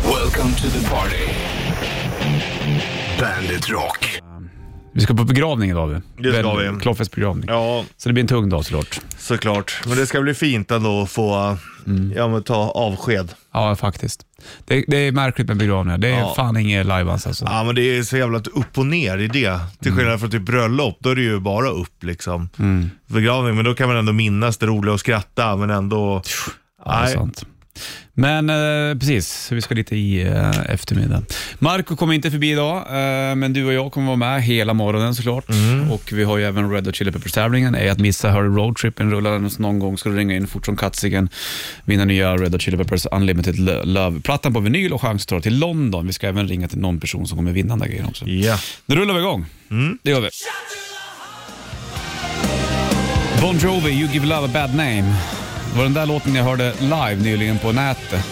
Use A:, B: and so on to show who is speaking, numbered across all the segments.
A: Welcome to the party. Bandit Rock.
B: Vi ska på begravning idag du.
C: Det ska
B: Väl-
C: vi.
B: Kloffes begravning.
C: Ja,
B: Så det blir en tung dag såklart.
C: såklart. Men det ska bli fint ändå att få
B: Mm.
C: ja, men ta avsked.
B: Ja, faktiskt. Det, det är märkligt med begravningar. Det är
C: Ja.
B: fan inget lajbans alltså.
C: Ja, men det är så jävla upp och ner i det. Till
B: Mm.
C: skillnad från typ bröllop, då är det ju bara upp liksom. Begravning, men då kan man ändå minnas det roliga och skratta, men ändå...
B: Ja, det är
C: Nej.
B: sant. Men eh, precis, vi ska dit i eh, eftermiddag. Marco kommer inte förbi idag, eh, men du och jag kommer vara med hela morgonen såklart.
C: Mm.
B: Och vi har ju även Red Hot Chili Peppers-tävlingen. Är att missa, hör roadtrippen rullar den så någon gång. Ska du ringa in fort som kattsigen, vinna nya Red Hot Chili Peppers Unlimited Lo- Love-plattan på vinyl och chans att ta dig till London. Vi ska även ringa till någon person som kommer vinna den där grejen också.
C: Ja.
B: Nu rullar vi igång. Det gör vi. Bon Jovi, You Give Love A Bad Name. Det var den där låten jag hörde live nyligen på nätet.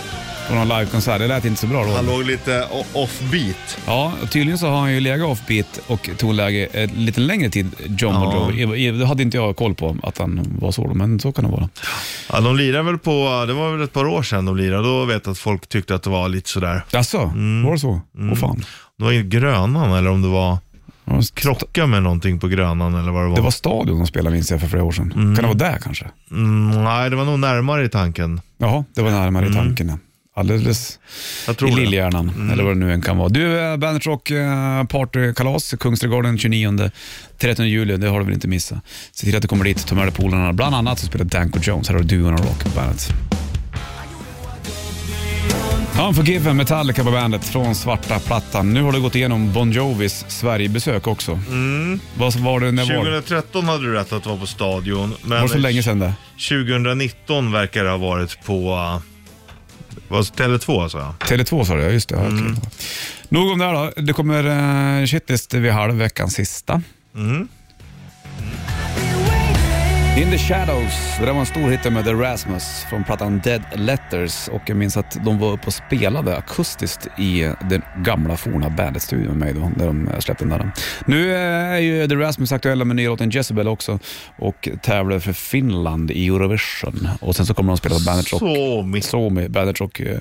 B: På någon livekonsert. Det lät inte så bra
C: Han
B: då.
C: låg lite o- offbeat.
B: Ja, och tydligen så har han ju legat offbeat och tonläge eh, lite längre tid, John Bon
C: Ja.
B: Jovi. Eh, Det hade inte jag koll på att han var så då, men så kan det vara.
C: Ja, de lirade väl på, det var väl ett par år sedan de lirade, då vet jag att folk tyckte att det var lite sådär.
B: Jaså, var det så? Åh fan.
C: Det var ju Grönan eller om det var
B: Det var en st-
C: krocka med någonting på Grönan eller vad det var.
B: Det var Stadion de spelade minns jag för flera år sedan. Kan det vara där kanske?
C: Mm, nej, det var nog närmare i tanken.
B: Jaha, det var närmare i tanken. Alldeles
C: Jag tror
B: I
C: det. Mm.
B: Lillhjärnan, eller vad det nu än kan vara. Du, eh, Bandit Rock eh, partykalas, Kungsträdgården 29-30 juli, det har du väl inte missat. Se till att du kommer dit, ta med dig polarna. Bland annat så spelar Danko Jones, här har du duon och Rock på bandet. Unforgiven, Metallica på bandet från svarta plattan. Nu har du gått igenom Bon Jovis Sverigebesök också.
C: Mm.
B: Vad var det, när var det?
C: 2013 hade du rätt att vara på Stadion. Men
B: Var det så länge sedan det?
C: 2019 verkar det ha varit på eh, vad- Tele2 alltså, sa jag.
B: Tele2 sa du, ja just det. Ja, okej. Nog om det här då. Det kommer uh, shitlist vid halv veckans sista. In the Shadows, det där var en stor hit med The Rasmus från plattan Dead Letters och jag minns att de var uppe och spelade akustiskt i den gamla forna Bandet-studion med mig då, när de eh, släppte den där. Nu eh, är ju The Rasmus aktuella med nya låten Jezebel också och tävlar för Finland i Eurovision och sen så kommer de spela på Bandet Rock.
C: Så mitt.
B: Somi, Bandage och eh,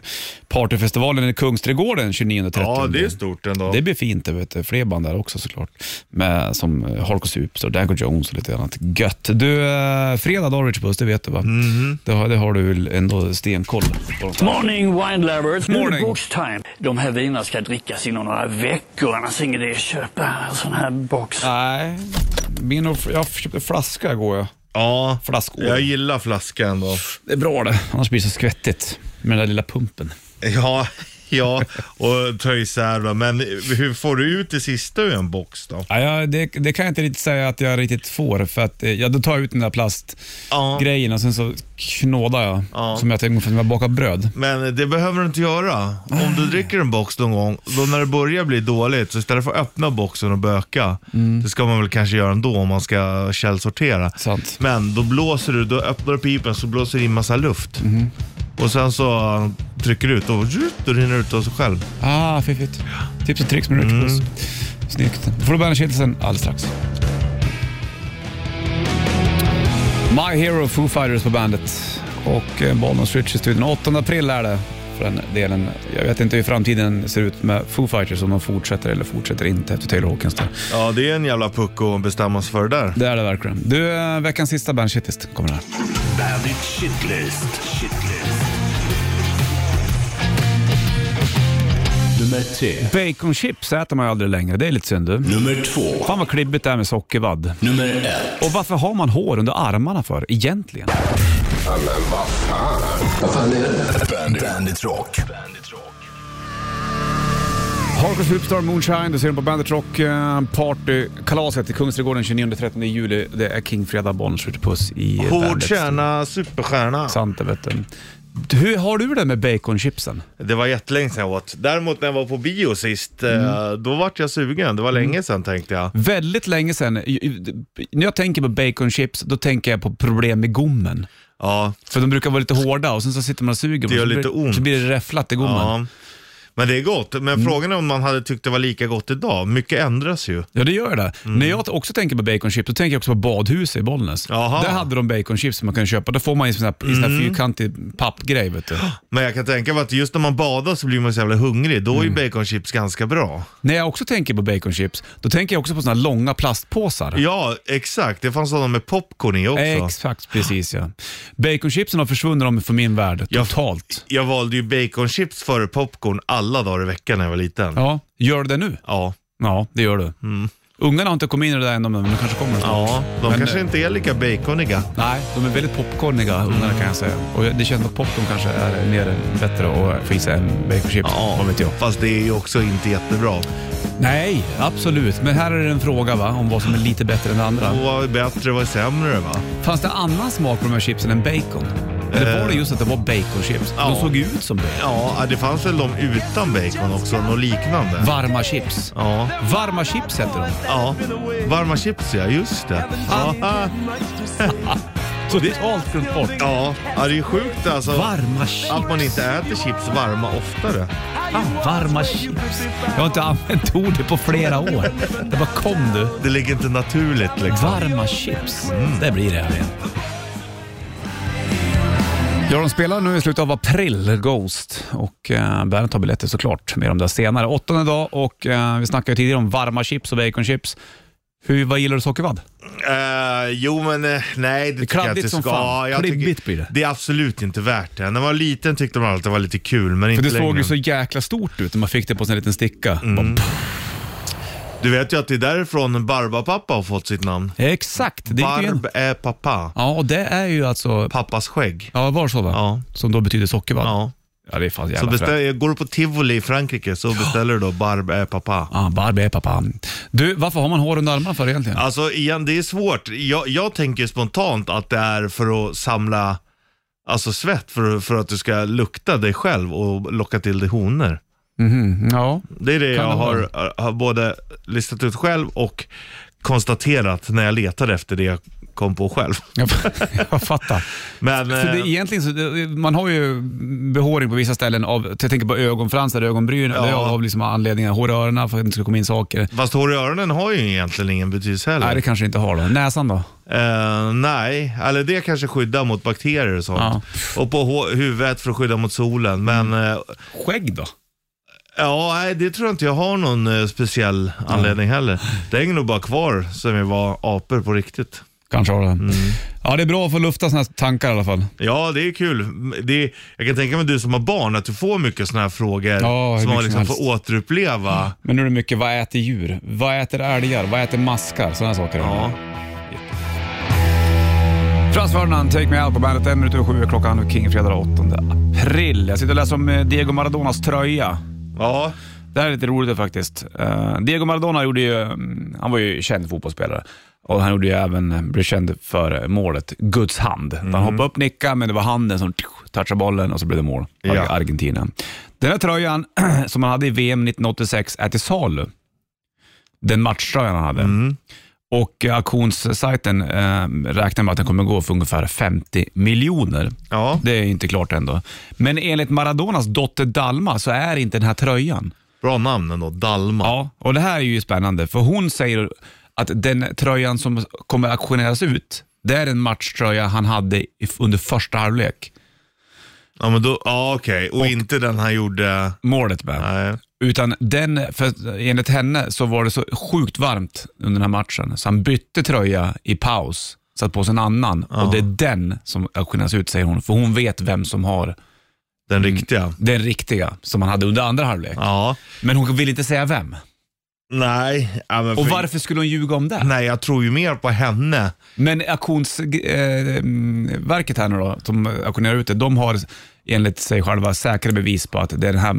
B: Partyfestivalen i Kungsträdgården 29-30.
C: Ja, det är stort ändå.
B: Det blir fint, det vet du. fler band där också såklart. Med, som eh, Harko Sups och Danko Jones och lite annat gött. Du, eh, fredag dag Richard Puss, det vet du va?
C: Mhm.
B: Det, har, det har du väl ändå stenkoll på?
D: Morning wine lovers. Nu är det
B: Morning.
D: boxtime. De här vinerna ska drickas inom några veckor, annars är ingen idé att köpa en sån här box.
B: Nej, min och, jag köpte flaska igår. jag.
C: Ja,
B: Flaskor.
C: jag gillar flaska ändå.
B: Det är bra det, annars blir det så skvättigt med den där lilla pumpen.
C: Ja, ja och ta isär va. Men hur får du ut det sista ur en box då?
B: Ja, jag, det, det kan jag inte riktigt säga att jag riktigt får, för att eh, jag då tar jag ut den där
C: Ja.
B: plastgrejen och sen så knådar jag,
C: Ja.
B: som jag tänker för att jag bakar bröd.
C: Men det behöver du inte göra. Om du dricker en box någon gång, då när det börjar bli dåligt, så istället för att öppna boxen och böka,
B: Mm.
C: det ska man väl kanske göra ändå om man ska källsortera.
B: Sant.
C: Men då blåser du, då öppnar du pipen så blåser det in massa luft. Och sen så trycker du ut och då rinner det ut av sig själv.
B: Ah, fiffigt. Tips och tricks med Rich Puss. Snyggt. Då får du bandet alldeles strax. My Hero Foo Fighters på bandet och eh, Bollnäs Rich i studion. 8 april är det för den delen. Jag vet inte hur framtiden ser ut med Foo Fighters, om de fortsätter eller fortsätter inte efter Taylor Hawkins. Där.
C: Ja, det är en jävla pucko att bestämma sig för det där.
B: Det är det verkligen. Du, eh, veckans sista band shitlist kommer här.
A: Bandit Shitlist. Shitlist. Nummer tre.
B: Baconchips äter man ju aldrig längre. Det är lite synd du.
A: Nummer två.
B: Fan vad klibbigt det är med sockervadd.
A: Nummer ett.
B: Och varför har man hår under armarna för egentligen?
A: Bandit, Bandit Rock. Bandit Rock.
B: Hardcore Superstar Moonshine, du ser den på Bandit Rock eh, Party-kalaset i Kungsträdgården 29-30 juli. Det är King Fredag, Bonniers Puss i eh,
C: Hård
B: Bandits.
C: kärna, superstjärna.
B: Sant det vet du. Hur har du det med baconchipsen?
C: Det var jättelänge sedan jag åt. Däremot när jag var på bio sist, eh, då vart jag sugen. Det var länge sedan tänkte jag.
B: Väldigt länge sedan, i- i- när jag tänker på baconchips, då tänker jag på problem med gommen.
C: Ja,
B: För de brukar vara lite hårda och sen så sitter man och suger. på
C: Det
B: dem,
C: gör
B: så
C: lite
B: blir,
C: ont. Mm.
B: Så blir det räfflat i gommen.
C: Ja. Men det är gott. Men frågan är om man hade tyckt det var lika gott idag. Mycket ändras ju.
B: Ja, det gör det.
C: Mm.
B: När jag också tänker på baconchips, då tänker jag också på badhuset i Bollnäs.
C: Jaha. Mm.
B: Där hade de baconchips som man kunde köpa. Då får man i sån här, i sån här fyrkantig pappgrej. Vet du.
C: Men jag kan tänka mig att just när man badar så blir man så jävla hungrig. Då är ju baconchips ganska bra.
B: När jag också tänker på baconchips, då tänker jag också på såna här långa plastpåsar.
C: Ja, exakt. Det fanns sådana med popcorn i också.
B: Exakt, precis ja. Baconchipsen har försvunnit de från min värld totalt.
C: jag valde ju baconchips före popcorn alla dagar i veckan när jag var liten. Ja.
B: Ja, gör du det nu?
C: Ja,
B: Ja, det gör du.
C: Mm.
B: Ungarna har inte kommit in i det där ännu, men de kanske kommer snart.
C: de
B: Men-
C: kanske inte är lika baconiga.
B: Nej, de är väldigt popcorniga, ungarna kan jag säga. Och det känns som att popcorn kanske är mer bättre att få i sig än baconchips, vad vet jag.
C: Fast det är ju också inte jättebra.
B: Nej, absolut. Men här är det en fråga va, om vad som är lite bättre än det andra.
C: Och vad är bättre, vad är sämre va?
B: Fanns det annan smak på de här chipsen än bacon? Eller var det just att det var baconchips?
C: Eh. ja.
B: De såg ju ut som bacon.
C: Ja, det fanns väl de utan bacon också, något liknande.
B: Varma chips.
C: Ja.
B: Varma chips heter de.
C: ja, varma chips ja, just det. Ja,
B: Totalt glömt bort.
C: ja. ja det är sjukt alltså.
B: Varma chips.
C: Att man inte äter chips varma oftare.
B: Ah, Varma chips. Jag har inte använt ordet på flera år. Det bara kom du.
C: Det ligger inte naturligt liksom.
B: Varma chips. Det blir det här igen. Ja, de spelar nu i slutet av april, Ghost. Och eh, bandet har biljetter såklart, mer om det senare. Åttonde dag och eh, vi snackade ju tidigare om varma chips och baconchips. Hur, vad gillar du sockervadd?
C: Eh, jo men eh, nej det, tycker jag
B: kladdigt
C: inte
B: som
C: ska.
B: fan.
C: Jag tycker-
B: Klibbigt blir det.
C: Det är absolut inte värt det. När man var liten tyckte man alltid det var lite kul men inte
B: För det såg
C: längre.
B: ju så jäkla stort ut när man fick det på en liten sticka.
C: Mm.
B: Bara, pff.
C: Du vet ju att det är därifrån Barbapappa har fått sitt namn.
B: Exakt, det gick ju in.
C: Barb är pappa.
B: Ja, och det är ju alltså...
C: Pappas skägg.
B: Ja, var så va?
C: Ja.
B: Som då betyder sockervadd.
C: Ja.
B: Ja, det är fan
C: Så
B: jävla fräckt.
C: beställ, går du på tivoli i Frankrike så beställer du då Barb är pappa.
B: Ah, Barbie, pappa. Du, varför har man hår under armarna för egentligen?
C: Alltså igen, det är svårt. Jag, jag tänker spontant att det är för att samla alltså svett för, för att du ska lukta dig själv och locka till dig honor.
B: Mhm, ja.
C: Det är det
B: Kan
C: jag
B: det
C: har, har både listat ut själv och konstaterat när jag letade efter det jag kom på själv.
B: Jag, jag fattar.
C: Men,
B: För det,
C: eh,
B: är egentligen så, det- man har ju behåring på vissa ställen av, jag tänker på ögonfransar, ögonbryn,
C: Ja.
B: det är av liksom anledningar, hår i öronen för att det inte ska komma in saker.
C: Fast hår i öronen har ju egentligen ingen betydelse heller.
B: Nej, det kanske inte har då. Näsan då?
C: Eh, nej, eller det kanske skyddar mot bakterier och sånt. Och på hå- huvudet för att skydda mot solen. Men
B: Mm.
C: eh,
B: Skägg då?
C: ja, nej, det tror jag inte jag har någon eh, speciell anledning heller. Det hänger nog bara kvar sen vi var apor på riktigt.
B: Kanske har det.
C: Mm.
B: Ja, det är bra att få lufta sådana tankar i alla fall.
C: Ja, det är kul. Det är, jag kan tänka mig du som har barn, att du får mycket sådana här frågor
B: Ja, hur
C: som man
B: mycket som
C: liksom får återuppleva.
B: Men nu är det mycket, vad äter djur? Vad äter älgar? Vad äter maskar? Sådana saker.
C: Ja.
B: Frans Ferdinand, Take Me Out på bandet. En minut över sju är klockan och King fredag 8 april. Jag sitter och läser om eh, Diego Maradonas tröja.
C: ja.
B: Det här är lite roligt faktiskt. Eh, Diego Maradona gjorde ju, mm, han var ju känd fotbollsspelare och han gjorde ju även, blev känd för målet Guds hand.
C: Mm.
B: Han hoppade upp, nickade, men det var handen som touchade bollen och så blev det mål. Ar-
C: Ja.
B: Argentina. Den här tröjan som han hade i VM 1986 är till salu. Den matchtröjan han hade.
C: Mm.
B: Och eh, auktionssajten eh, räknar med att den kommer gå för ungefär 50 miljoner.
C: ja.
B: Det är inte klart ändå. Men enligt Maradonas dotter Dalma så är inte den här tröjan.
C: Bra namn ändå, Dalma.
B: Ja, och det här är ju spännande för hon säger att den tröjan som kommer auktioneras ut, det är en matchtröja han hade i- under första halvlek.
C: Ja, men då, ja okej. Och, inte den han gjorde...
B: Målet med.
C: Nej.
B: Utan den, för enligt henne så var det så sjukt varmt under den här matchen så han bytte tröja i paus, satt på sig en annan och det är den som auktioneras ut säger hon, för hon vet vem som har
C: Den
B: Mm.
C: riktiga.
B: den riktiga som han hade under andra halvlek.
C: Ja.
B: Men hon vill inte säga vem.
C: Nej. Ja, men
B: Och
C: för-
B: varför skulle hon ljuga om det?
C: Nej, jag tror ju mer på henne.
B: Men auktionsverket eh, mm, verket här nu då, som auktionerar ut det, de har enligt sig själva säkra bevis på att det är den här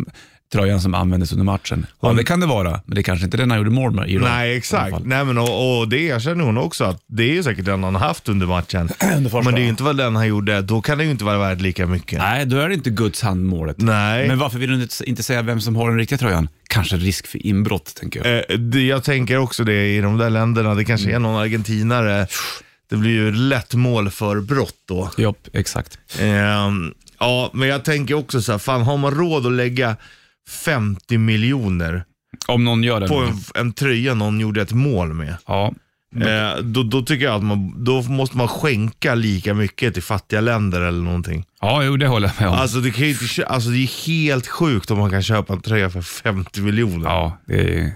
B: tröjan som användes under matchen. Ja, det kan det vara, men det är kanske inte den han gjorde mål med i då,
C: Nej,
B: i alla
C: exakt.
B: fall.
C: Nej, men, och, och det erkänner hon också, att det är ju säkert den han har haft under matchen.
B: första,
C: men det är ju
B: ja.
C: inte vad den han gjorde, då kan det ju inte vara värt lika mycket.
B: Nej, då är det inte Guds hand målet.
C: Nej.
B: Men varför vill du inte- inte säga vem som har den riktiga tröjan? Kanske risk för inbrott, tänker jag.
C: Eh, det, jag tänker också det i de där länderna, det kanske är någon argentinare. Det blir ju lätt mål för brott då.
B: Jopp, exakt.
C: Ehm, ja, men jag tänker också så här, fan har man råd att lägga 50 miljoner
B: Om någon gör det.
C: på en, en tröja någon gjorde ett mål med.
B: Ja.
C: Eh, då, då tycker jag att man, då måste man skänka lika mycket till fattiga länder eller någonting.
B: ja, jo det håller jag med om.
C: Alltså det, kan ju inte, kö- alltså det är helt sjukt om man kan köpa en tröja för 50 miljoner.
B: Ja, det är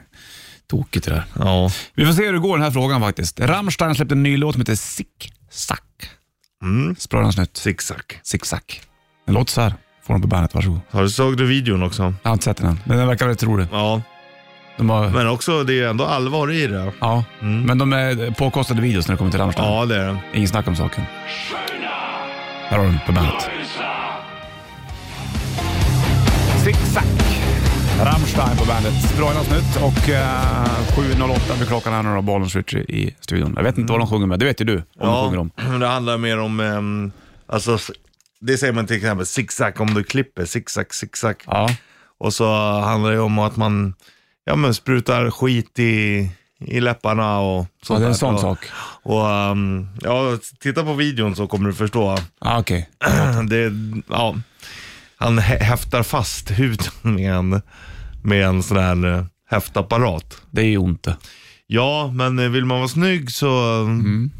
B: tokigt det där.
C: Ja.
B: Vi får se hur det går den här frågan faktiskt. Rammstein släppte en ny låt som heter Sick Sack.
C: Mm.
B: Sprallans nytt.
C: Zigzag.
B: Sick Sack. Den låter så här. Får de på bandet, varsågod.
C: Har du såg du videon också?
B: Jag har inte sett den än, men den verkar rätt rolig.
C: Ja,
B: De har,
C: men också det är ändå allvar i det.
B: ja, men de är påkostade videos när det kommer till Rammstein.
C: Mm. Ja, det är det.
B: Ingen snack om saken. Här har du den på bandet. Zigzag. Rammstein på bandet. Brojnas nytt och eh, 7.08 blir klockan här nu då. Bollens Ritchie i studion. Jag vet inte vad de sjunger med. Det vet ju du om de
C: Ja,
B: sjunger om.
C: men det handlar mer om, ehm, alltså, s- det säger man till exempel zigzag om du klipper, zigzag, zigzag.
B: Ja.
C: Och så handlar det om att man ja, men sprutar skit i, i läpparna och sånt
B: Ja, det är en
C: där.
B: sån
C: och,
B: sak.
C: Och, ehm, ja, titta på videon så kommer du förstå.
B: Ah, Okej.
C: Det, ja, han hä- häftar fast huden med en, med en sån här eh, häftapparat.
B: Det är ju ont det.
C: Ja, men eh, vill man vara snygg så,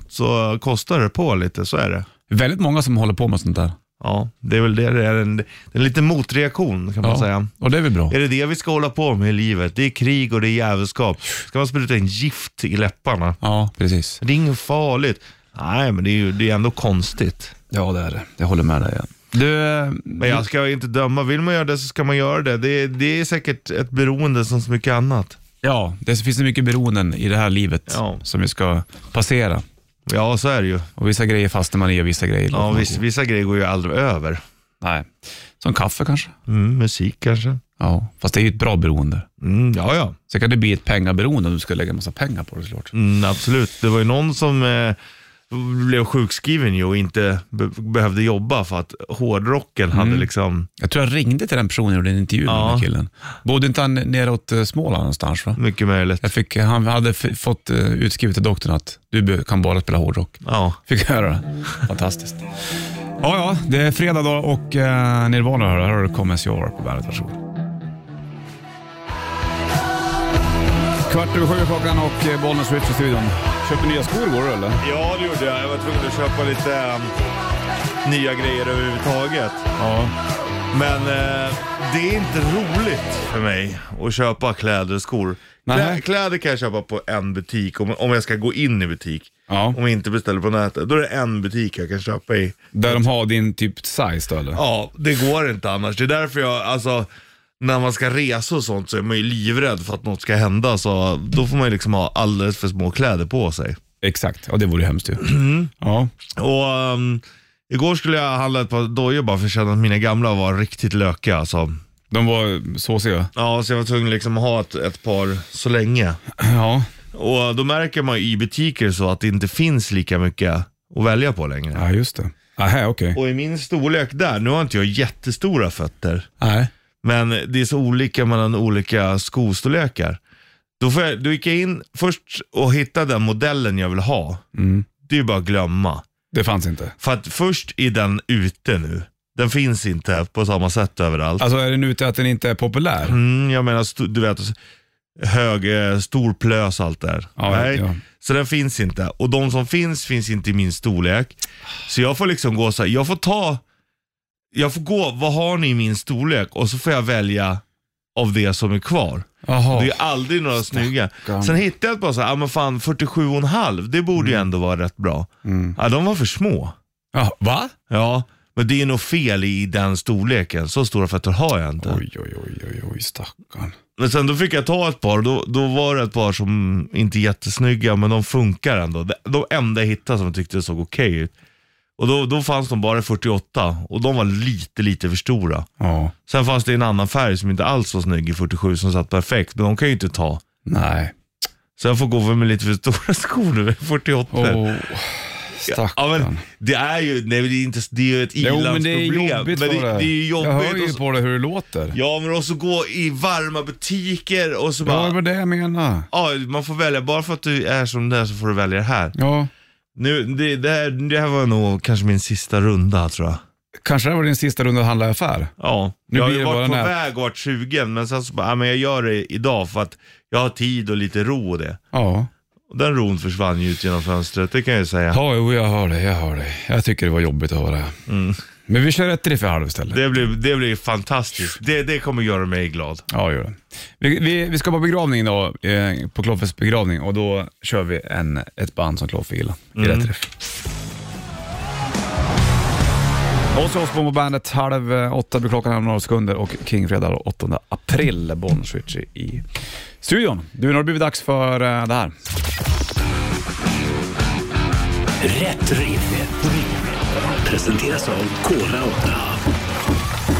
C: så kostar det på lite, så är det.
B: Väldigt många som håller på med sånt där.
C: Ja, det är väl det det är. En, det är en liten motreaktion kan man säga.
B: Och det är väl bra.
C: Är det det vi ska hålla på med i livet? Det är krig och det är jävelskap. Ska man spruta in gift i läpparna?
B: Ja, precis.
C: Det är inget farligt. Nej, men det är ju det är ändå konstigt.
B: Ja, det är det. Jag håller med dig. Du, eh,
C: Men jag ska inte döma. Vill man göra det så ska man göra det. Det, det är säkert ett beroende som så mycket annat.
B: ja, det finns så mycket beroenden i det här livet
C: Ja.
B: som vi ska passera.
C: Ja, så är det ju.
B: Och vissa grejer fastnar man i och vissa grejer
C: Ja,
B: låter man
C: vissa,
B: gå.
C: vissa grejer går ju aldrig över.
B: Nej. Som kaffe kanske?
C: Mm, musik kanske.
B: Ja, fast det är ju ett bra beroende.
C: Mm, ja, ja.
B: Sen kan det bli ett pengaberoende om du ska lägga en massa pengar på det såklart.
C: Mm, absolut. Det var ju någon som eh, blev sjukskriven ju och inte be- behövde jobba för att hårdrocken
B: Mm.
C: hade liksom
B: Jag tror jag ringde till den personen och gjorde en intervju med
C: Ja.
B: den här killen. Bodde inte han neråt eh, Småland någonstans va?
C: mycket möjligt.
B: Jag fick, han hade f- fått eh, utskrivet till doktorn att du be- kan bara spela hårdrock.
C: Ja.
B: Fick jag höra det. Fantastiskt. Ja, ja, det är fredag då och eh, Nirvana hör. Här har du Come As You Are på bandet. Varsågod. Kvart över sju är klockan och eh, Bollnäs Rich i studion. Köpte nya skor igår eller?
C: ja, det gjorde jag. Jag var tvungen att köpa lite ehm, nya grejer överhuvudtaget.
B: Ja.
C: Men eh, det är inte roligt för mig att köpa kläder och skor. Klä,
B: Nähä.
C: kläder kan jag köpa på en butik om, om jag ska gå in i butik.
B: Ja.
C: Om jag inte beställer på nätet. Då är det en butik jag kan köpa i.
B: Där de har din typ size då eller?
C: Ja, det går inte annars. Det är därför jag, alltså, när man ska resa och sånt så är man ju livrädd för att något ska hända. Så då får man ju liksom ha alldeles för små kläder på sig.
B: Exakt, ja det vore ju hemskt ju. Ja.
C: Och ehm, igår skulle jag handla ett par dojor bara för att känna att mina gamla var riktigt lökiga. Alltså.
B: De var såsiga.
C: Ja, så jag var tvungen liksom att ha ett, ett par så länge.
B: Ja.
C: Och då märker man ju i butiker så att det inte finns lika mycket att välja på längre.
B: Ja, just det. Aha, okej.
C: Och i min storlek där, nu har inte jag jättestora fötter.
B: Nej.
C: Men det är så olika mellan olika skostorlekar. Då, får jag, då gick jag in först och hittade den modellen jag vill ha. Det är ju bara att glömma.
B: Det fanns inte.
C: För att först är den ute nu. Den finns inte på samma sätt överallt.
B: Alltså är den ute att den inte är populär?
C: Mm, jag menar, st- du vet, hög, eh, stor plös allt där.
B: Ja,
C: Nej.
B: ja.
C: Så den finns inte. Och de som finns, finns inte i min storlek. Så jag får liksom gå så här, jag får ta, jag får gå, vad har ni i min storlek? Och så får jag välja av det som är kvar.
B: Jaha.
C: Det är aldrig några snygga. Sen hittade jag ett par så här, ja men fan 47,5, det borde
B: Mm.
C: ju ändå vara rätt bra. Ja, de var för små.
B: Ja, va?
C: Ja, men det är nog fel i den storleken. Så stora fötter har jag inte.
B: Oj, oj, oj, oj, oj, stackarn.
C: Men sen då fick jag ta ett par, då, då var det ett par som inte är jättesnygga men de funkar ändå. De, de enda jag hittade som jag tyckte såg okej ut. Och då, då fanns de bara i 48 och de var lite, lite för stora.
B: Ja.
C: Sen fanns det en annan färg som inte alls var snygg i 47 som satt perfekt, men de kan jag ju inte ta.
B: Nej.
C: Så jag får gå med lite för stora skor nu, 48.
B: Oh,
C: Ja,
B: stackarn.
C: men det är ju, nej, men det är, inte, det är ju ett
B: Jo, men det är
C: i-landsproblem.
B: jobbigt
C: men
B: för
C: det,
B: dig.
C: det är ju jobbigt.
B: Jag hör
C: och
B: ju
C: så,
B: på det hur det låter.
C: Ja, men också gå i varma butiker och så bara...
B: Ja, det var det jag menade.
C: Ja, man får välja. Bara för att du är som du är så får du välja det här.
B: Ja.
C: Nu, det, det, här, det här var nog kanske min sista runda tror jag.
B: Kanske det var din sista runda att handla i affär?
C: Ja,
B: Nu
C: jag har
B: blir
C: ju
B: det bara
C: varit på
B: nät.
C: väg och varit sugen, men sen så bara, ja, men jag gör det idag för att jag har tid och lite ro och det.
B: Ja.
C: Och den ron försvann ju ut genom fönstret, det kan jag ju säga.
B: Ja, jo, jag hör det, jag hör det. Jag tycker det var jobbigt att höra. Men vi kör ett till för halv istället.
C: Det blir, det blir fantastiskt. Det, det kommer göra mig glad.
B: Ja, gör det. Vi, vi, vi ska på begravning då, eh, på Kloffes begravning och då kör vi en, ett band som Kloffe gillar i rätt träff. Ozzy Osbourne på bandet, halv eh, åtta blir klockan här om några sekunder och King fredag då, 8 april, Bonneswitch i studion. Du, nu har det blivit dags för eh, det här.
A: Rätt riff. Rätt riff. Presenteras av Kora 8.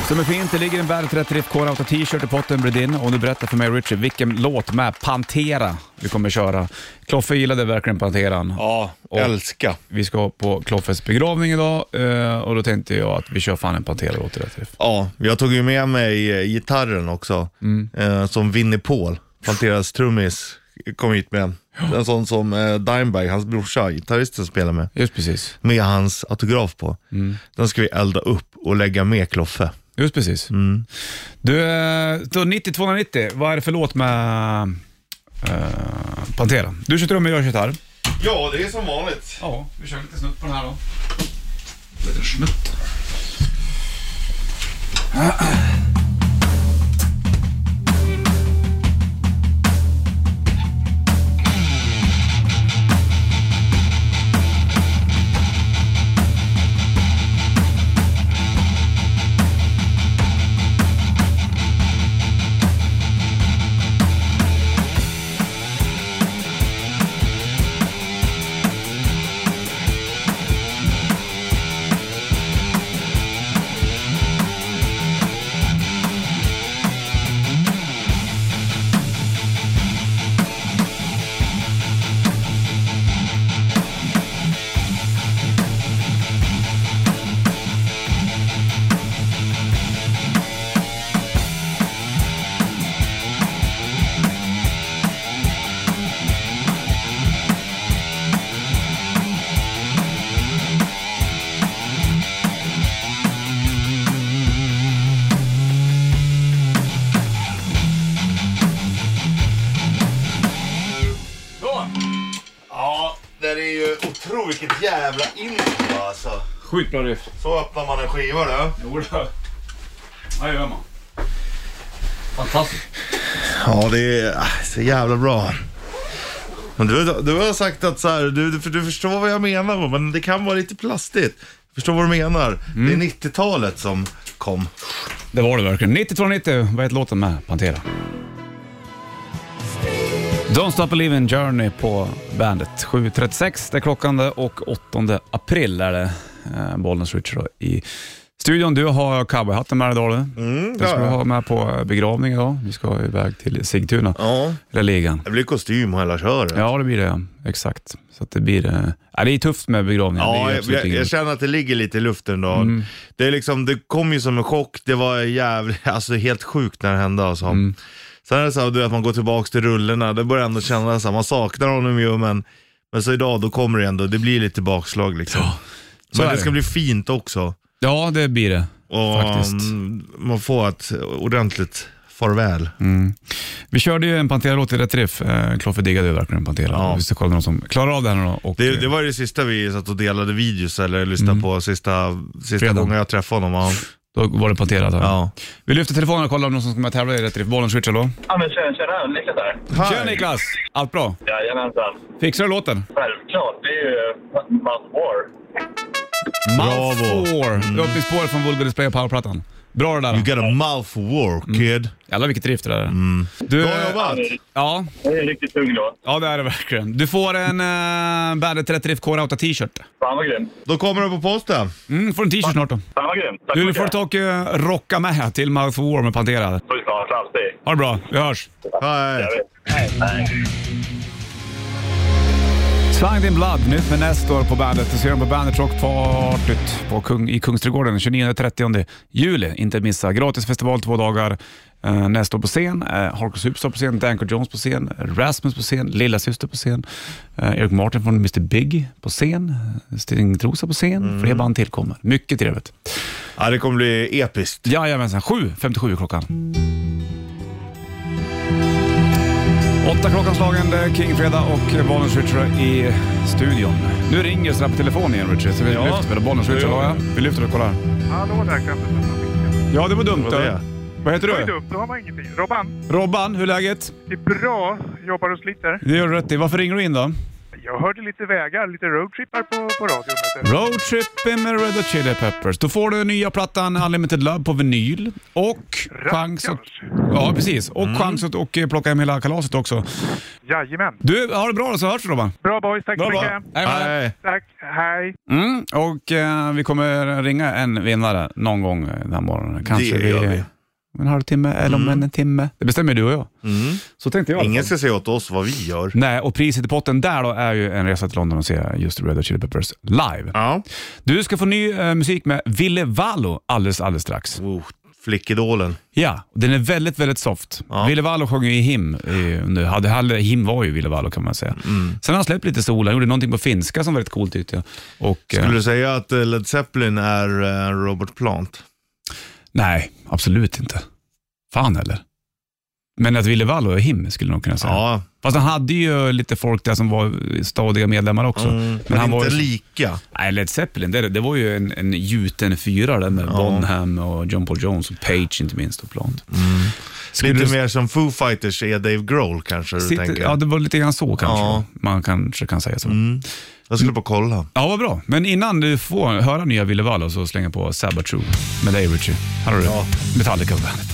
B: Som är fint, det ligger en Bandet Rätt Riff Core Auto t-shirt i potten bredvid din och nu berättar för mig Richard vilken låt med Pantera vi kommer köra. Kloffe gillade verkligen Panteran.
C: Ja, älska.
B: Vi ska på Kloffes begravning idag eh, och då tänkte jag att vi kör fan en Pantera-låt i rätt riff.
C: Ja, jag tog ju med mig eh, gitarren också, eh, som Vinnie Paul, Panteras trummis, kom hit med. En sån som eh, Dimebag, hans brorsa, gitarristen spelar med,
B: Just precis.
C: med hans autograf på. Den ska vi elda upp och lägga med Kloffe.
B: Just precis. Du, eh, då 9290, vad är det för låt med eh, Pantera? Du kör trummor, jag kör gitarr.
C: Ja, det är som vanligt.
B: Ja, vi kör lite snutt på den här då. Lite snutt.
C: Ja, det är ju otroligt vilket jävla intro alltså.
B: Sjukt bra riff.
C: Så öppnar man en skiva då.
B: Jodå. Vad gör man? Fantastiskt.
C: Ja, det är ah, så jävla bra. Men du, du har sagt att så här, du, du, du förstår vad jag menar, va? men det kan vara lite plastigt. Jag förstår vad du menar. Det är 90-talet som kom.
B: Det var det verkligen. 9290, vad heter låten med Pantera? Don't Stop Believin' Journey på bandet. 7.36 det är klockan det och 8 april är det. Eh, Bollnäs Richard då i studion. Du har cowboyhatten med dig idag du. Den
C: Mm, det
B: ska du
C: har jag.
B: ha med på begravning idag. Vi ska iväg till Sigtuna,
C: Ja,
B: eller ligan.
C: det blir kostym och hela köret.
B: Ja, det blir det. ja. Exakt. Så att det blir... eh, Ja, det är tufft med begravningar. det är
C: Ja,
B: ju
C: jag,
B: absolut Mm.
C: jag,
B: ingen-
C: jag känner att det ligger lite i luften då. Det, är liksom, det kom ju som en chock, det var jävligt, alltså helt sjukt när det hände alltså.
B: Mm.
C: Sen är det så här, du vet, att man går tillbaka till rullorna, det börjar ändå kännas så här, man saknar honom ju men, men så idag då kommer det ändå, det blir lite bakslag liksom.
B: så
C: men
B: är
C: det
B: det.
C: ska bli fint också.
B: ja, det blir det.
C: Och
B: Faktiskt.
C: mm, man får ett ordentligt farväl.
B: Mm. Vi körde ju en Pantera-låt i rätt träff. Eh, Kloffe diggade ju verkligen Pantera.
C: Ja.
B: Vi ska kolla någon som klarar av det här nu då. Och,
C: Det, det var ju det sista vi satt och delade videos eller lyssnade
B: Mm.
C: på, sista, sista
B: Fredagen.
C: gången jag träffade honom. Ja.
B: eh, Då var det Pantera. antar jag.
C: Ja.
B: Vi lyfter telefonen och kollar om någon som ska med och tävla i rätt träff. Bollen switchar då.
E: Ja men tjena, tjena, Niklas här.
B: Tjena Niklas! Allt bra?
E: Jajamensan.
B: Fixar du låten?
E: Självklart, det är ju Must War.
B: Mouth
C: Bravo.
B: Four. Mm. Öppningsspåret från Vulgar Display och powerplattan. Bra det där.
C: You got a mouth for war kid.
B: Jävlar vilket drift det där är. Du,
C: Mm. Bra jobbat!
B: Ja,
E: Det är en riktigt tung låt.
B: ja, det är det verkligen. Du får en uh, Bandet 30 Drift Core Auta t-shirt.
E: Fan vad grym.
C: Då kommer den på posten.
B: Mm, får en t-shirt snart då.
E: Fan vad grym. Tack
B: Du
E: så
B: du får
E: mycket.
B: ta och eh, rocka med här till Mouth War med Pantera.
E: Såklart, alltid.
B: Ha det bra, vi hörs.
C: Hej.
E: Jag vet. Nej.
B: Så Signed in Blood, nytt med Nestor på bandet. Du ser dem på Bandet Rock Partyt på Kung, i Kungsträdgården 29-30 juli. Inte missa. Gratisfestival två dagar. Uh, Nestor på scen, uh, Harkus Superstar på scen, Danko Jones på scen, Rasmus på scen, Lilla Syster på scen, eh, Eric Martin från Mr Big på scen, Stingtrosa på scen. Fler band tillkommer. Mycket trevligt.
C: Ja, det kommer bli episkt.
B: Jajamensan, 7.57 är klockan. Åtta klockan slagen, det är King-fredag och Bollnäs Richard i studion. Nu ringer sådär på telefon igen Richard, så vi
C: Ja.
B: lyfter väl Bollnäs Richard,
C: Ja,
B: ja.
C: ja.
B: Vi lyfter och kollar.
F: Hallå där, kan du sätta micken?
B: Ja, det var dumt.
C: Vad är
B: Vad,
C: det?
B: Vad heter
F: Det var ju
B: du?
F: dumt, då har man ingenting. Robban,
B: Robban, hur är läget?
F: det är bra. Jobbar och sliter.
B: Det gör du rätt i. Varför ringer du in då?
F: Jag hörde lite vägar, lite roadtrippar på, på radion. vet du.
B: Roadtripping med Red Hot Chili Peppers. Då får du nya plattan Unlimited Love på vinyl och chans att...
F: Rackarns.
B: Ja, precis. Och chans att och eh, plocka hem hela kalaset också.
F: Jajamän.
B: Du, ha det bra då så hörs vi Robban.
F: Bra boys, tack så mycket.
B: Hej, hej.
C: Nej.
F: Tack, hej.
B: Mm, och eh, vi kommer ringa en vinnare någon gång eh, den här morgonen. Kanske
C: Det gör
B: vid,
C: vi. Mm.
B: eh, om en halvtimme eller om en timme. Det bestämmer du och jag. Så tänkte jag. i alla
C: Ingen
B: fall.
C: ska säga åt oss vad vi gör.
B: Nej, och priset i potten där då är ju en resa till London och se just Red Hot Chili Peppers live.
C: Ja.
B: Du ska få ny eh, musik med Ville Vallo alldeles, alldeles strax.
C: Oh, flickidolen.
B: Ja, den är väldigt, väldigt soft. Ville Vallo sjöng ju i Him. eh, nu. Hade, hade, him var ju Ville Vallo kan man säga.
C: Mm.
B: Sen har han släppt lite sol. Han gjorde någonting på finska som var rätt coolt tyckte jag. Och, eh,
C: Skulle du säga att eh, Led Zeppelin är eh, Robert Plant?
B: Nej, absolut inte. Fan heller. Men att Ville Vallo är him skulle jag nog kunna säga.
C: Ja,
B: Fast han hade ju lite folk där som var stadiga medlemmar också.
C: mm, men
B: han
C: inte
B: var ju...
C: lika.
B: Nej, Led Zeppelin, det, det var ju en, en gjuten fyra där med Bonham och John Paul Jones och Page inte minst och Plant. Skulle
C: Mm. Lite
B: du-
C: mer som Foo Fighters är Dave Grohl kanske du
B: Sitter,
C: tänker.
B: ja, det var lite grann så kanske.
C: Ja. Mm.
B: Man kanske kan säga så.
C: Jag skulle bara kolla.
B: Ja, vad bra. Men innan du får höra nya Ville Vallo så slänger jag på Sabbath True med dig Richie. Här har du Metallica på bandet.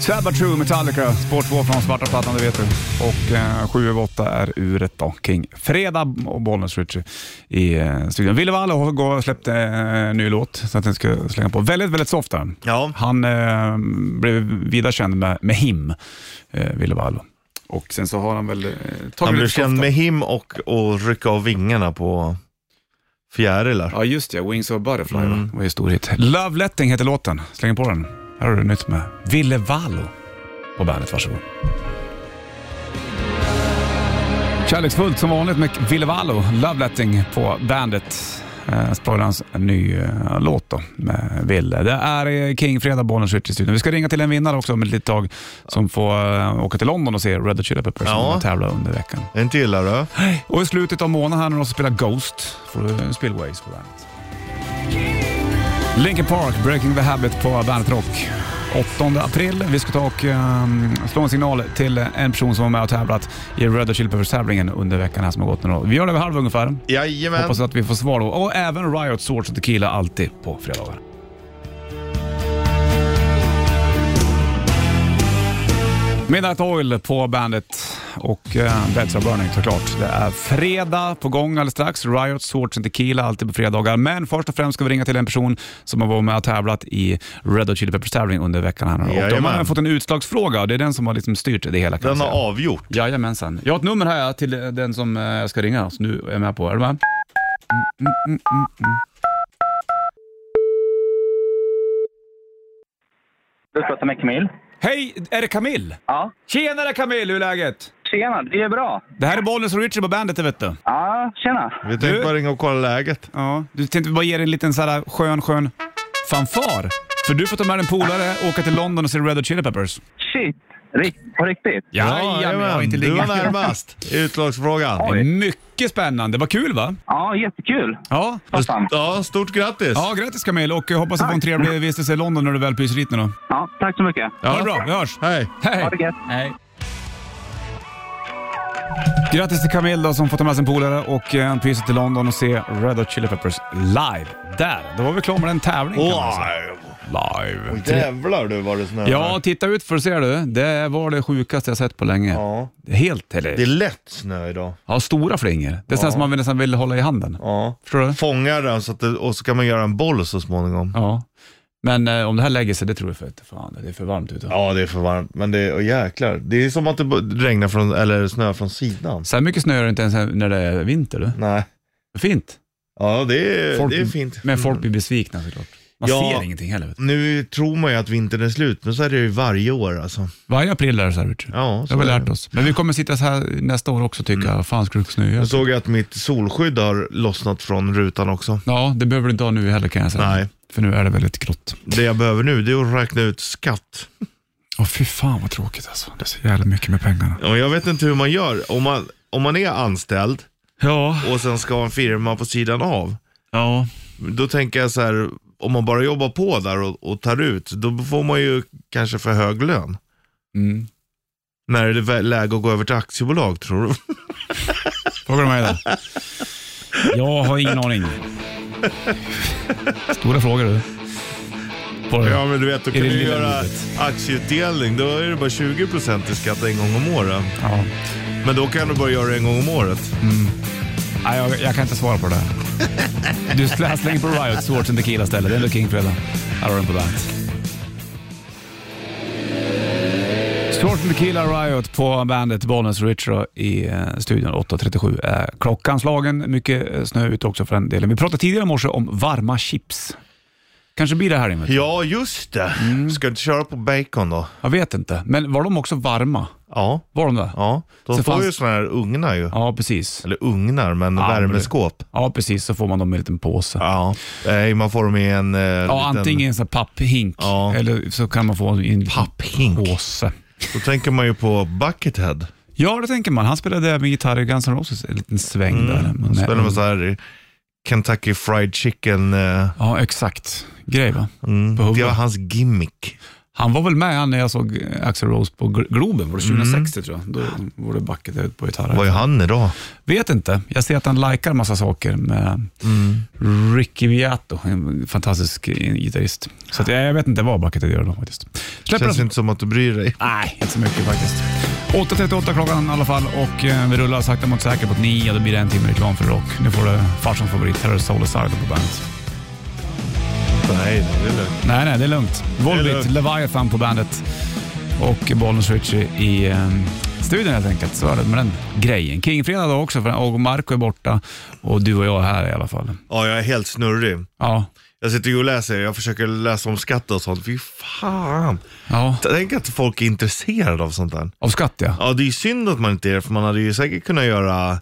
B: Sabbath True, Metallica, spår 2 från svarta plattan, det vet du. Och eh, 7 över 8 är uret då, kring fredag och Bollnäs Richie i eh, studion. Ville Vallo har gå- släppt eh, en ny låt, så att den ska slänga på. Väldigt, väldigt soft den.
C: Ja.
B: Han eh, blev vida känd med, med him, eh, Ville Vallo. Och sen så har han väl eh, tagit
C: Han blev
B: lite
C: känd
B: softa-
C: med him och, och rycka av vingarna på fjärilar.
B: Ja, just det. Wings of Butterfly va? Det var ju stor hit. Love Letting heter låten. Släng på den. Här har du nytt med Ville Vallo på bandet. Varsågod. Kärleksfullt som vanligt med Ville Vallo, Love Letting på bandet. Eh, Spoilans ny eh, låt då med Ville. Det är eh, King Fredag, Bollnäs Ritchie studion. Vi ska ringa till en vinnare också om ett litet tag som får eh, åka till London och se Red Hot Chili Peppers
C: Ja.
B: som tävla under veckan.
C: En till här då.
B: Och i slutet av månaden här när de spelar Ghost får du Spillways på bandet. Linkin Park, Breaking the Habit på Bandet Rock. 8 april. Vi ska ta och ehm, slå en signal till en person som var med och tävlat i Red Hot Chili Peppers-tävlingen under veckan här som har gått nu. då. Vi gör det vid halv ungefär.
C: Jajamän.
B: Hoppas att vi får svar då. Och även Riot Swords och Tequila alltid på fredagar. Midnight Oil på bandet och eh, Beds of Burning såklart. Det är fredag på gång alldeles strax. Riot, Swords and Tequila alltid på fredagar. Men först och främst ska vi ringa till en person som har varit med och tävlat i Red Hot Chili Peppers tävling under veckan. Här. nu. Och de har
C: Jajamän.
B: fått en utslagsfråga och det är den som har liksom styrt det hela. Kan
C: Den
B: man
C: har
B: säga.
C: avgjort.
B: Jajamensan. Jag har ett nummer här till den som eh, jag ska ringa, som du är med på. Är du med? Mm, mm, mm, mm, mm.
G: Du pratar med Camille.
B: Hej, är det Camille?
G: Ja.
B: Tjenare Camille, hur är läget?
G: Tjena, det är bra.
B: Det här är Bollnäs och Richard på bandet, det vet du.
G: Ja, tjena.
C: Vi tänkte bara ringa och kolla läget.
B: Ja, du tänkte bara ge dig en liten så här skön, skön fanfar. För du får ta med en polare, åka till London och se Red Hot Chili Peppers.
G: Shit, Rikt, på riktigt.
B: men jag har inte
C: du var
B: legat.
C: närmast. i Utslagsfrågan.
G: Oj.
B: Mycket spännande. Vad kul va?
G: Ja, jättekul.
B: Ja.
G: Vad fan.
C: Ja, stort grattis.
B: Ja, grattis Camille och jag hoppas att du får en trevlig vistelse i London när du väl pyser hit nu då.
G: Ja, tack så mycket.
B: Ha det bra, vi hörs.
C: Hej.
B: Hej!
G: Ha det gött.
B: Grattis till Camille då, som fått ta med sin polare och eh, en pyser till London och se Red Hot Chili Peppers live. Där, då var vi klara med den tävlingen. kan man säga.
C: Wow.
B: Live.
C: Jävlar du vad det snöar.
B: Ja, titta ut för ser du. Det var det sjukaste jag sett på länge.
C: ja.
B: Helt, eller?
C: Det är lätt snö idag.
B: Ja, stora flingor. Det är sådana som man nästan vill hålla i handen.
C: Ja.
B: Förstår du?
C: Fångar den så att det, och så kan man göra en boll så småningom.
B: Ja. Men eh, om det här lägger sig, det tror jag för att fan, det är för varmt ute.
C: Ja, det är för varmt. Men det är, åh, jäklar. Det är som att det b- regnar från, eller snö från sidan.
B: Så här mycket snö gör det inte ens när det är vinter. Du.
C: Nej.
B: Fint.
C: Ja, det är,
B: Folk-
C: det är fint. Mm.
B: Men folk blir besvikna såklart. Man
C: Ja.
B: ser ingenting heller. Vet du.
C: Nu tror man ju att vintern är slut, men så är det ju varje år alltså.
B: Varje april är det så här. Richard.
C: Ja,
B: det
C: så
B: har vi
C: är
B: lärt
C: det.
B: oss. Men vi kommer sitta så här nästa år också och tycka, mm. fan skulle det snöa?
C: Jag såg ju att mitt solskydd har lossnat från rutan också.
B: Ja, det behöver du inte ha nu heller kan jag säga.
C: Nej.
B: För nu är det väldigt grått.
C: Det jag behöver nu, det är att räkna ut skatt.
B: Åh fy fan vad tråkigt alltså. Det är så jävla mycket med pengarna.
C: Och jag vet inte hur man gör. Om man, om man är anställd
B: Ja.
C: och sen ska ha en firma på sidan av,
B: Ja.
C: då tänker jag så här, om man bara jobbar på där och, och tar ut, då får man ju kanske för hög lön.
B: Mm.
C: När är det vä- läge att gå över till aktiebolag tror du?
B: Frågar du mig det? Jag har ingen aning. Stora frågor du. På det.
C: Ja men du vet, då kan
B: det
C: du
B: lilla
C: göra aktieutdelning. Då är det bara 20% i skatt en gång om året.
B: Ja.
C: Men då kan du bara göra det en gång om året.
B: Nej, jag, jag kan inte svara på det där. Du slä- slänger på Riot, Swords and Tequila istället. Det är ändå King-fredag. Här har du den på bandet. Swords and Tequila Riot på bandet. Bollnäs och Richard i eh, studion. 8.37 är klockan slagen. Mycket eh, snö ute också för den delen. Vi pratade tidigare i morse om varma chips. Kanske blir det här inne.
C: Ja just det. Ska du inte köra på bacon då?
B: Jag vet inte. Men var de också varma?
C: Ja.
B: Var de det?
C: Ja, de
B: Så
C: får
B: fanns-
C: ju sådana här ugnar ju.
B: Ja, precis.
C: Eller ugnar, men
B: Ja, men-
C: värmeskåp.
B: Ja, precis. Så får man dem i en liten påse.
C: Ja. Nej, man får dem i en eh,
B: Ja,
C: liten...
B: antingen en sån här papphink
C: Ja.
B: eller så kan man få en liten
C: Papphink?
B: påse.
C: Då tänker man ju på Buckethead.
B: Ja, det tänker man. Han spelade även gitarr i Guns N' Roses, en liten sväng
C: Mm.
B: där. Men, eh,
C: De spelar
B: men-
C: med så här Kentucky Fried Chicken. Eh,
B: Ja, exakt. Grej va?
C: mm.
B: På
C: Det var
B: hugget.
C: hans gimmick.
B: Han var väl med han när jag såg eh, Axl Rose på Gl- Globen, var det 2060 tror jag? Då var det bucket ut på gitarr.
C: Mm. Vad är han idag?
B: Vet inte. Jag ser att han likar massa saker med
C: Mm.
B: Ricky Viato, en fantastisk eh, gitarrist. Så att, jag, jag vet inte vad bucket gör då faktiskt. Släpper
C: Känns
B: den-
C: inte som att du bryr dig.
B: Nej, inte så mycket faktiskt. 8.38 klockan i alla fall och eh, vi rullar sakta mot säkert mot 9. Då blir det en timme reklam för rock. Nu får du farsans favorit. Här har du Soul Asylum på bandet.
C: Nej, det är lugnt.
B: Nej, nej, det är lugnt.
C: Det är
B: Volbit,
C: lugnt.
B: Leviathan på bandet och Bollnäs Ritchie i eh, studion helt enkelt. Så är det med den grejen. Kingfredag då också för, och Marco är borta och du och jag är här i alla fall.
C: Ja, jag är helt snurrig.
B: Ja,
C: Jag sitter ju och läser, jag försöker läsa om skatt och sånt. Fy fan.
B: ja.
C: Tänk att folk är intresserade av sånt där.
B: av skatt ja.
C: Ja, det är ju synd att man inte är det, för man hade ju säkert kunnat göra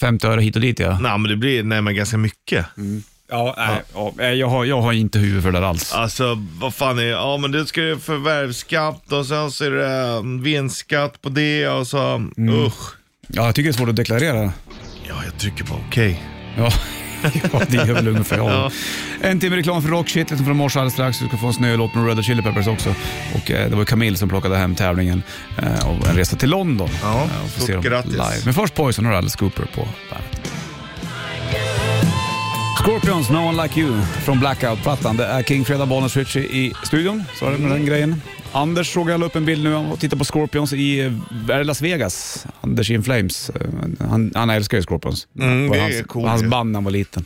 B: 50 öre hit och dit ja.
C: Nej, men det blir nej, men ganska mycket.
B: Ja, nej, ja. nej, Jag, har, jag har inte huvud för det där alls.
C: Alltså, vad fan är Ja, men det ska ju förvärvsskatt och sen så är det um, vinstskatt på det och så... Usch.
B: Ja, jag tycker det är svårt att deklarera.
C: Ja, jag trycker på okej.
B: Ja. ja, det gör väl ungefär jag. En timme reklam för rockshit från morse alldeles strax. Du ska få en snölåt med Red Hot Chili Peppers också. Och eh, det var Camille som plockade hem tävlingen eh, och en resa till London.
C: Ja,
B: Eh, och få
C: stort
B: se dem
C: grattis.
B: Live. Men först Poison och Alice Cooper på bandet. Scorpions, No One Like You från Blackout-plattan. Det är King Freda Bonus Ritchie i studion. Så är det med den grejen. Anders såg jag la upp en bild nu och tittar på Scorpions i eh, är det Las Vegas. Anders in Flames. Eh, Han, han älskar ju Scorpions.
C: Mm,
B: var
C: det är
B: hans,
C: coolt
B: var hans
C: ju. Mm.
B: band när han var liten.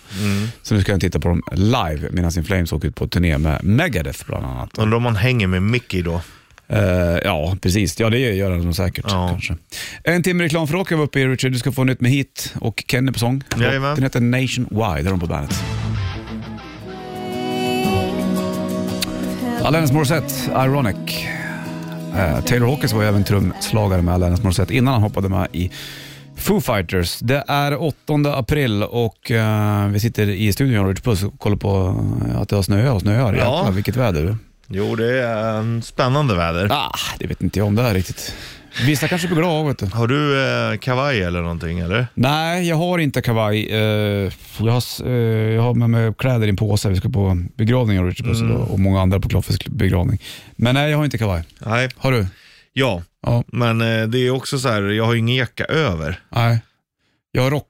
B: Så nu ska han titta på dem live medan In Flames åker ut på turné med Megadeth bland annat.
C: Undrar om man hänger med Mickey då.
B: Eh, ja, precis. Ja, det gör han nog säkert.
C: Ja.
B: Kanske. En timme reklam för rocken var uppe i Richard. Du ska få nytt med hit och Kenny på sång.
C: Jajamän.
B: Den heter Nationwide, där är de på bandet. Alanis Morissette, Ironic. Eh, Taylor Hawkins var ju även trumslagare med Alanis Morissette innan han hoppade med i Foo Fighters. Det är 8 april och eh, vi sitter i studion, Richard Puss, och kollar på eh, att det har snöat och snöar.
C: Ja.
B: Jäklar, vilket väder. du.
C: Jo, det är um, spännande väder.
B: Ah, det vet inte jag om det är riktigt. Vissa kanske blir glada av vet du.
C: Har du eh, kavaj eller någonting eller?
B: Nej, jag har inte kavaj. Eh, jag, har, s- eh, jag har med mig kläder i en påse. Vi ska på begravning av Richard Puss och många andra på Kloffes begravning. Men nej, jag har inte kavaj.
C: Nej.
B: Har du?
C: Ja,
B: Ja.
C: men eh, det är också så här, jag har ju ingen jacka över.
B: Nej. Jag har rock.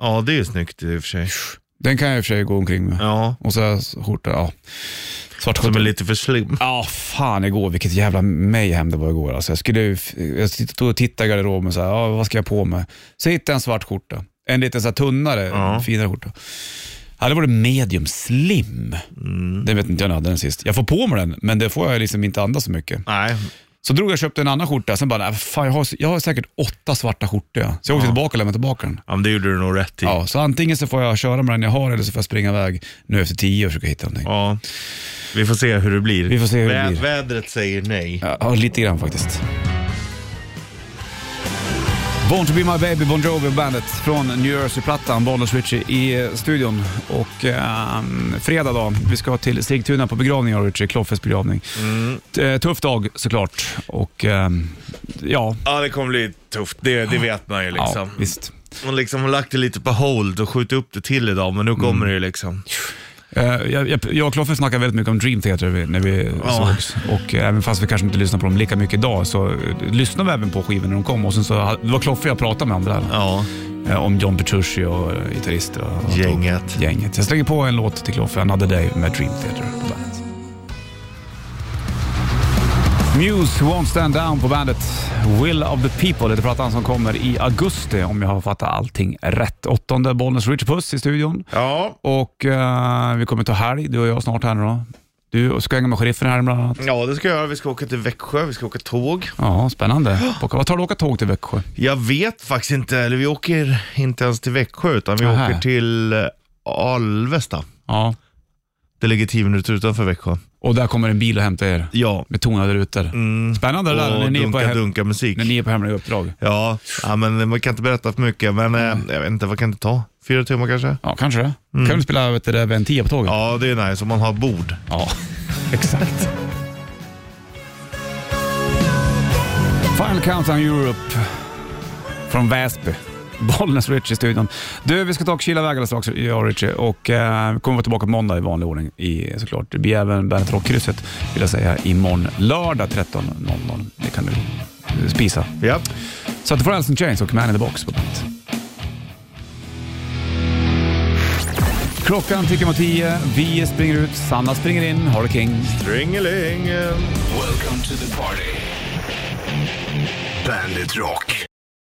C: Ja, det är ju snyggt i och för sig.
B: Den kan jag i och för sig gå omkring med.
C: Ja,
B: Och så har jag skjorta. Ja. Svart
C: som
B: skjorta.
C: är lite för slim.
B: Ja, fan igår. Vilket jävla mayhem det var igår. Alltså, jag, skulle, ju f- jag stod och tittade i garderoben så här, ja, vad ska jag på mig? Så hittade jag en svart skjorta. En lite så här tunnare,
C: Ja.
B: finare skjorta. Hade varit medium slim. Det vet inte jag när jag hade den sist. Jag får på mig den, men det får jag liksom inte andas så mycket.
C: Nej, så
B: Så drog jag och köpte en annan skjorta, sen bara, nej, fan, jag, har, jag har säkert åtta svarta skjortor. jag. Så jag åkte tillbaka och lämnade tillbaka den.
C: ja, men det gjorde du nog rätt i.
B: Ja, så antingen så får jag köra med den jag har eller så får jag springa iväg nu efter tio och försöka hitta någonting.
C: Ja. Vi får se hur det blir.
B: Vi får se hur det
C: Vä-
B: blir.
C: Vädret säger nej.
B: Ja, ja, lite grann faktiskt. Born to be my baby, Bon Jovi och bandet från New Jersey-plattan, Bollnäs Ritchie i eh, studion. Och ehm, fredag då, vi ska till Sigtuna på begravning av Ritchie, Kloffes begravning.
C: Mm.
B: T- eh, Tuff dag såklart och ehm, ja,
C: Ja, det kommer bli tufft. Det, det vet man ju
B: ja,
C: liksom.
B: visst. Mm.
C: Hon liksom har lagt det lite på hold och skjutit upp det till idag, men nu kommer det ju liksom.
B: Eh, Jag, jag, jag och Kloffe snackade väldigt mycket om Dream Theater vi- när vi
C: Ja.
B: sågs. Och eh, även fast vi kanske inte lyssnar på dem lika mycket idag så eh, lyssnade vi även på skivorna när de kom. Och sen så, ha- det var Kloffe jag pratade med om det där.
C: Ja,
B: Eh, Om John Petrucci och eh, gitarrister och och-
C: Gänget.
B: gänget. Jag slänger på en låt till Kloffe, Another Day med Dream Theater på bandet. Muse Won't Stand Down på bandet. Will of the People heter plattan som kommer i augusti om jag har fattat allting rätt. Åttonde Bollnäs Rich Puss i studion.
C: ja.
B: Och eh, vi kommer ta helg, du och jag snart här nu då. Du ska hänga med sheriffen här bland annat.
C: ja det ska jag göra. Vi ska åka till Växjö, vi ska åka tåg.
B: Ja, spännande. Och Vad tar du att åka tåg till Växjö?
C: Jag vet faktiskt inte, eller vi åker inte ens till Växjö, utan vi
B: Aha.
C: åker till eh, Alvesta.
B: Ja.
C: Det ligger tio minuter utanför Växjö.
B: Och där kommer en bil och hämtar er
C: Ja,
B: med tonade rutor. Spännande det där när
C: och
B: ni, är på
C: Mm. dunka
B: hem,
C: dunka musik.
B: när ni är på hemliga uppdrag.
C: Ja, ja, men man kan inte berätta för mycket, men
B: Mm.
C: eh, jag vet inte, vad kan det ta? Fyra timmar kanske?
B: Ja, kanske det. Kan du spela vet du, det, Ben 10 på tåget?
C: Mm. Ja, det är nice om man har bord.
B: Ja, exakt. Final Countdown Europe från Väsby. Bollnäs Rich i studion. Du, vi ska ta och kila iväg alldeles strax, jag och Richie, och eh, vi kommer vara tillbaka på måndag i vanlig ordning i, såklart. Det blir även Bandet Rockkrysset, vill jag säga, imorgon lördag 13.00. Det kan du eh, spisa.
C: Ja.
B: Så att du får Alice in Chains och Man in the Box på bandet. Klockan tickar mot tio, vi springer ut, Sanna springer in, har det king.
C: Ringeling.
A: Welcome to the party. Bandit Rock.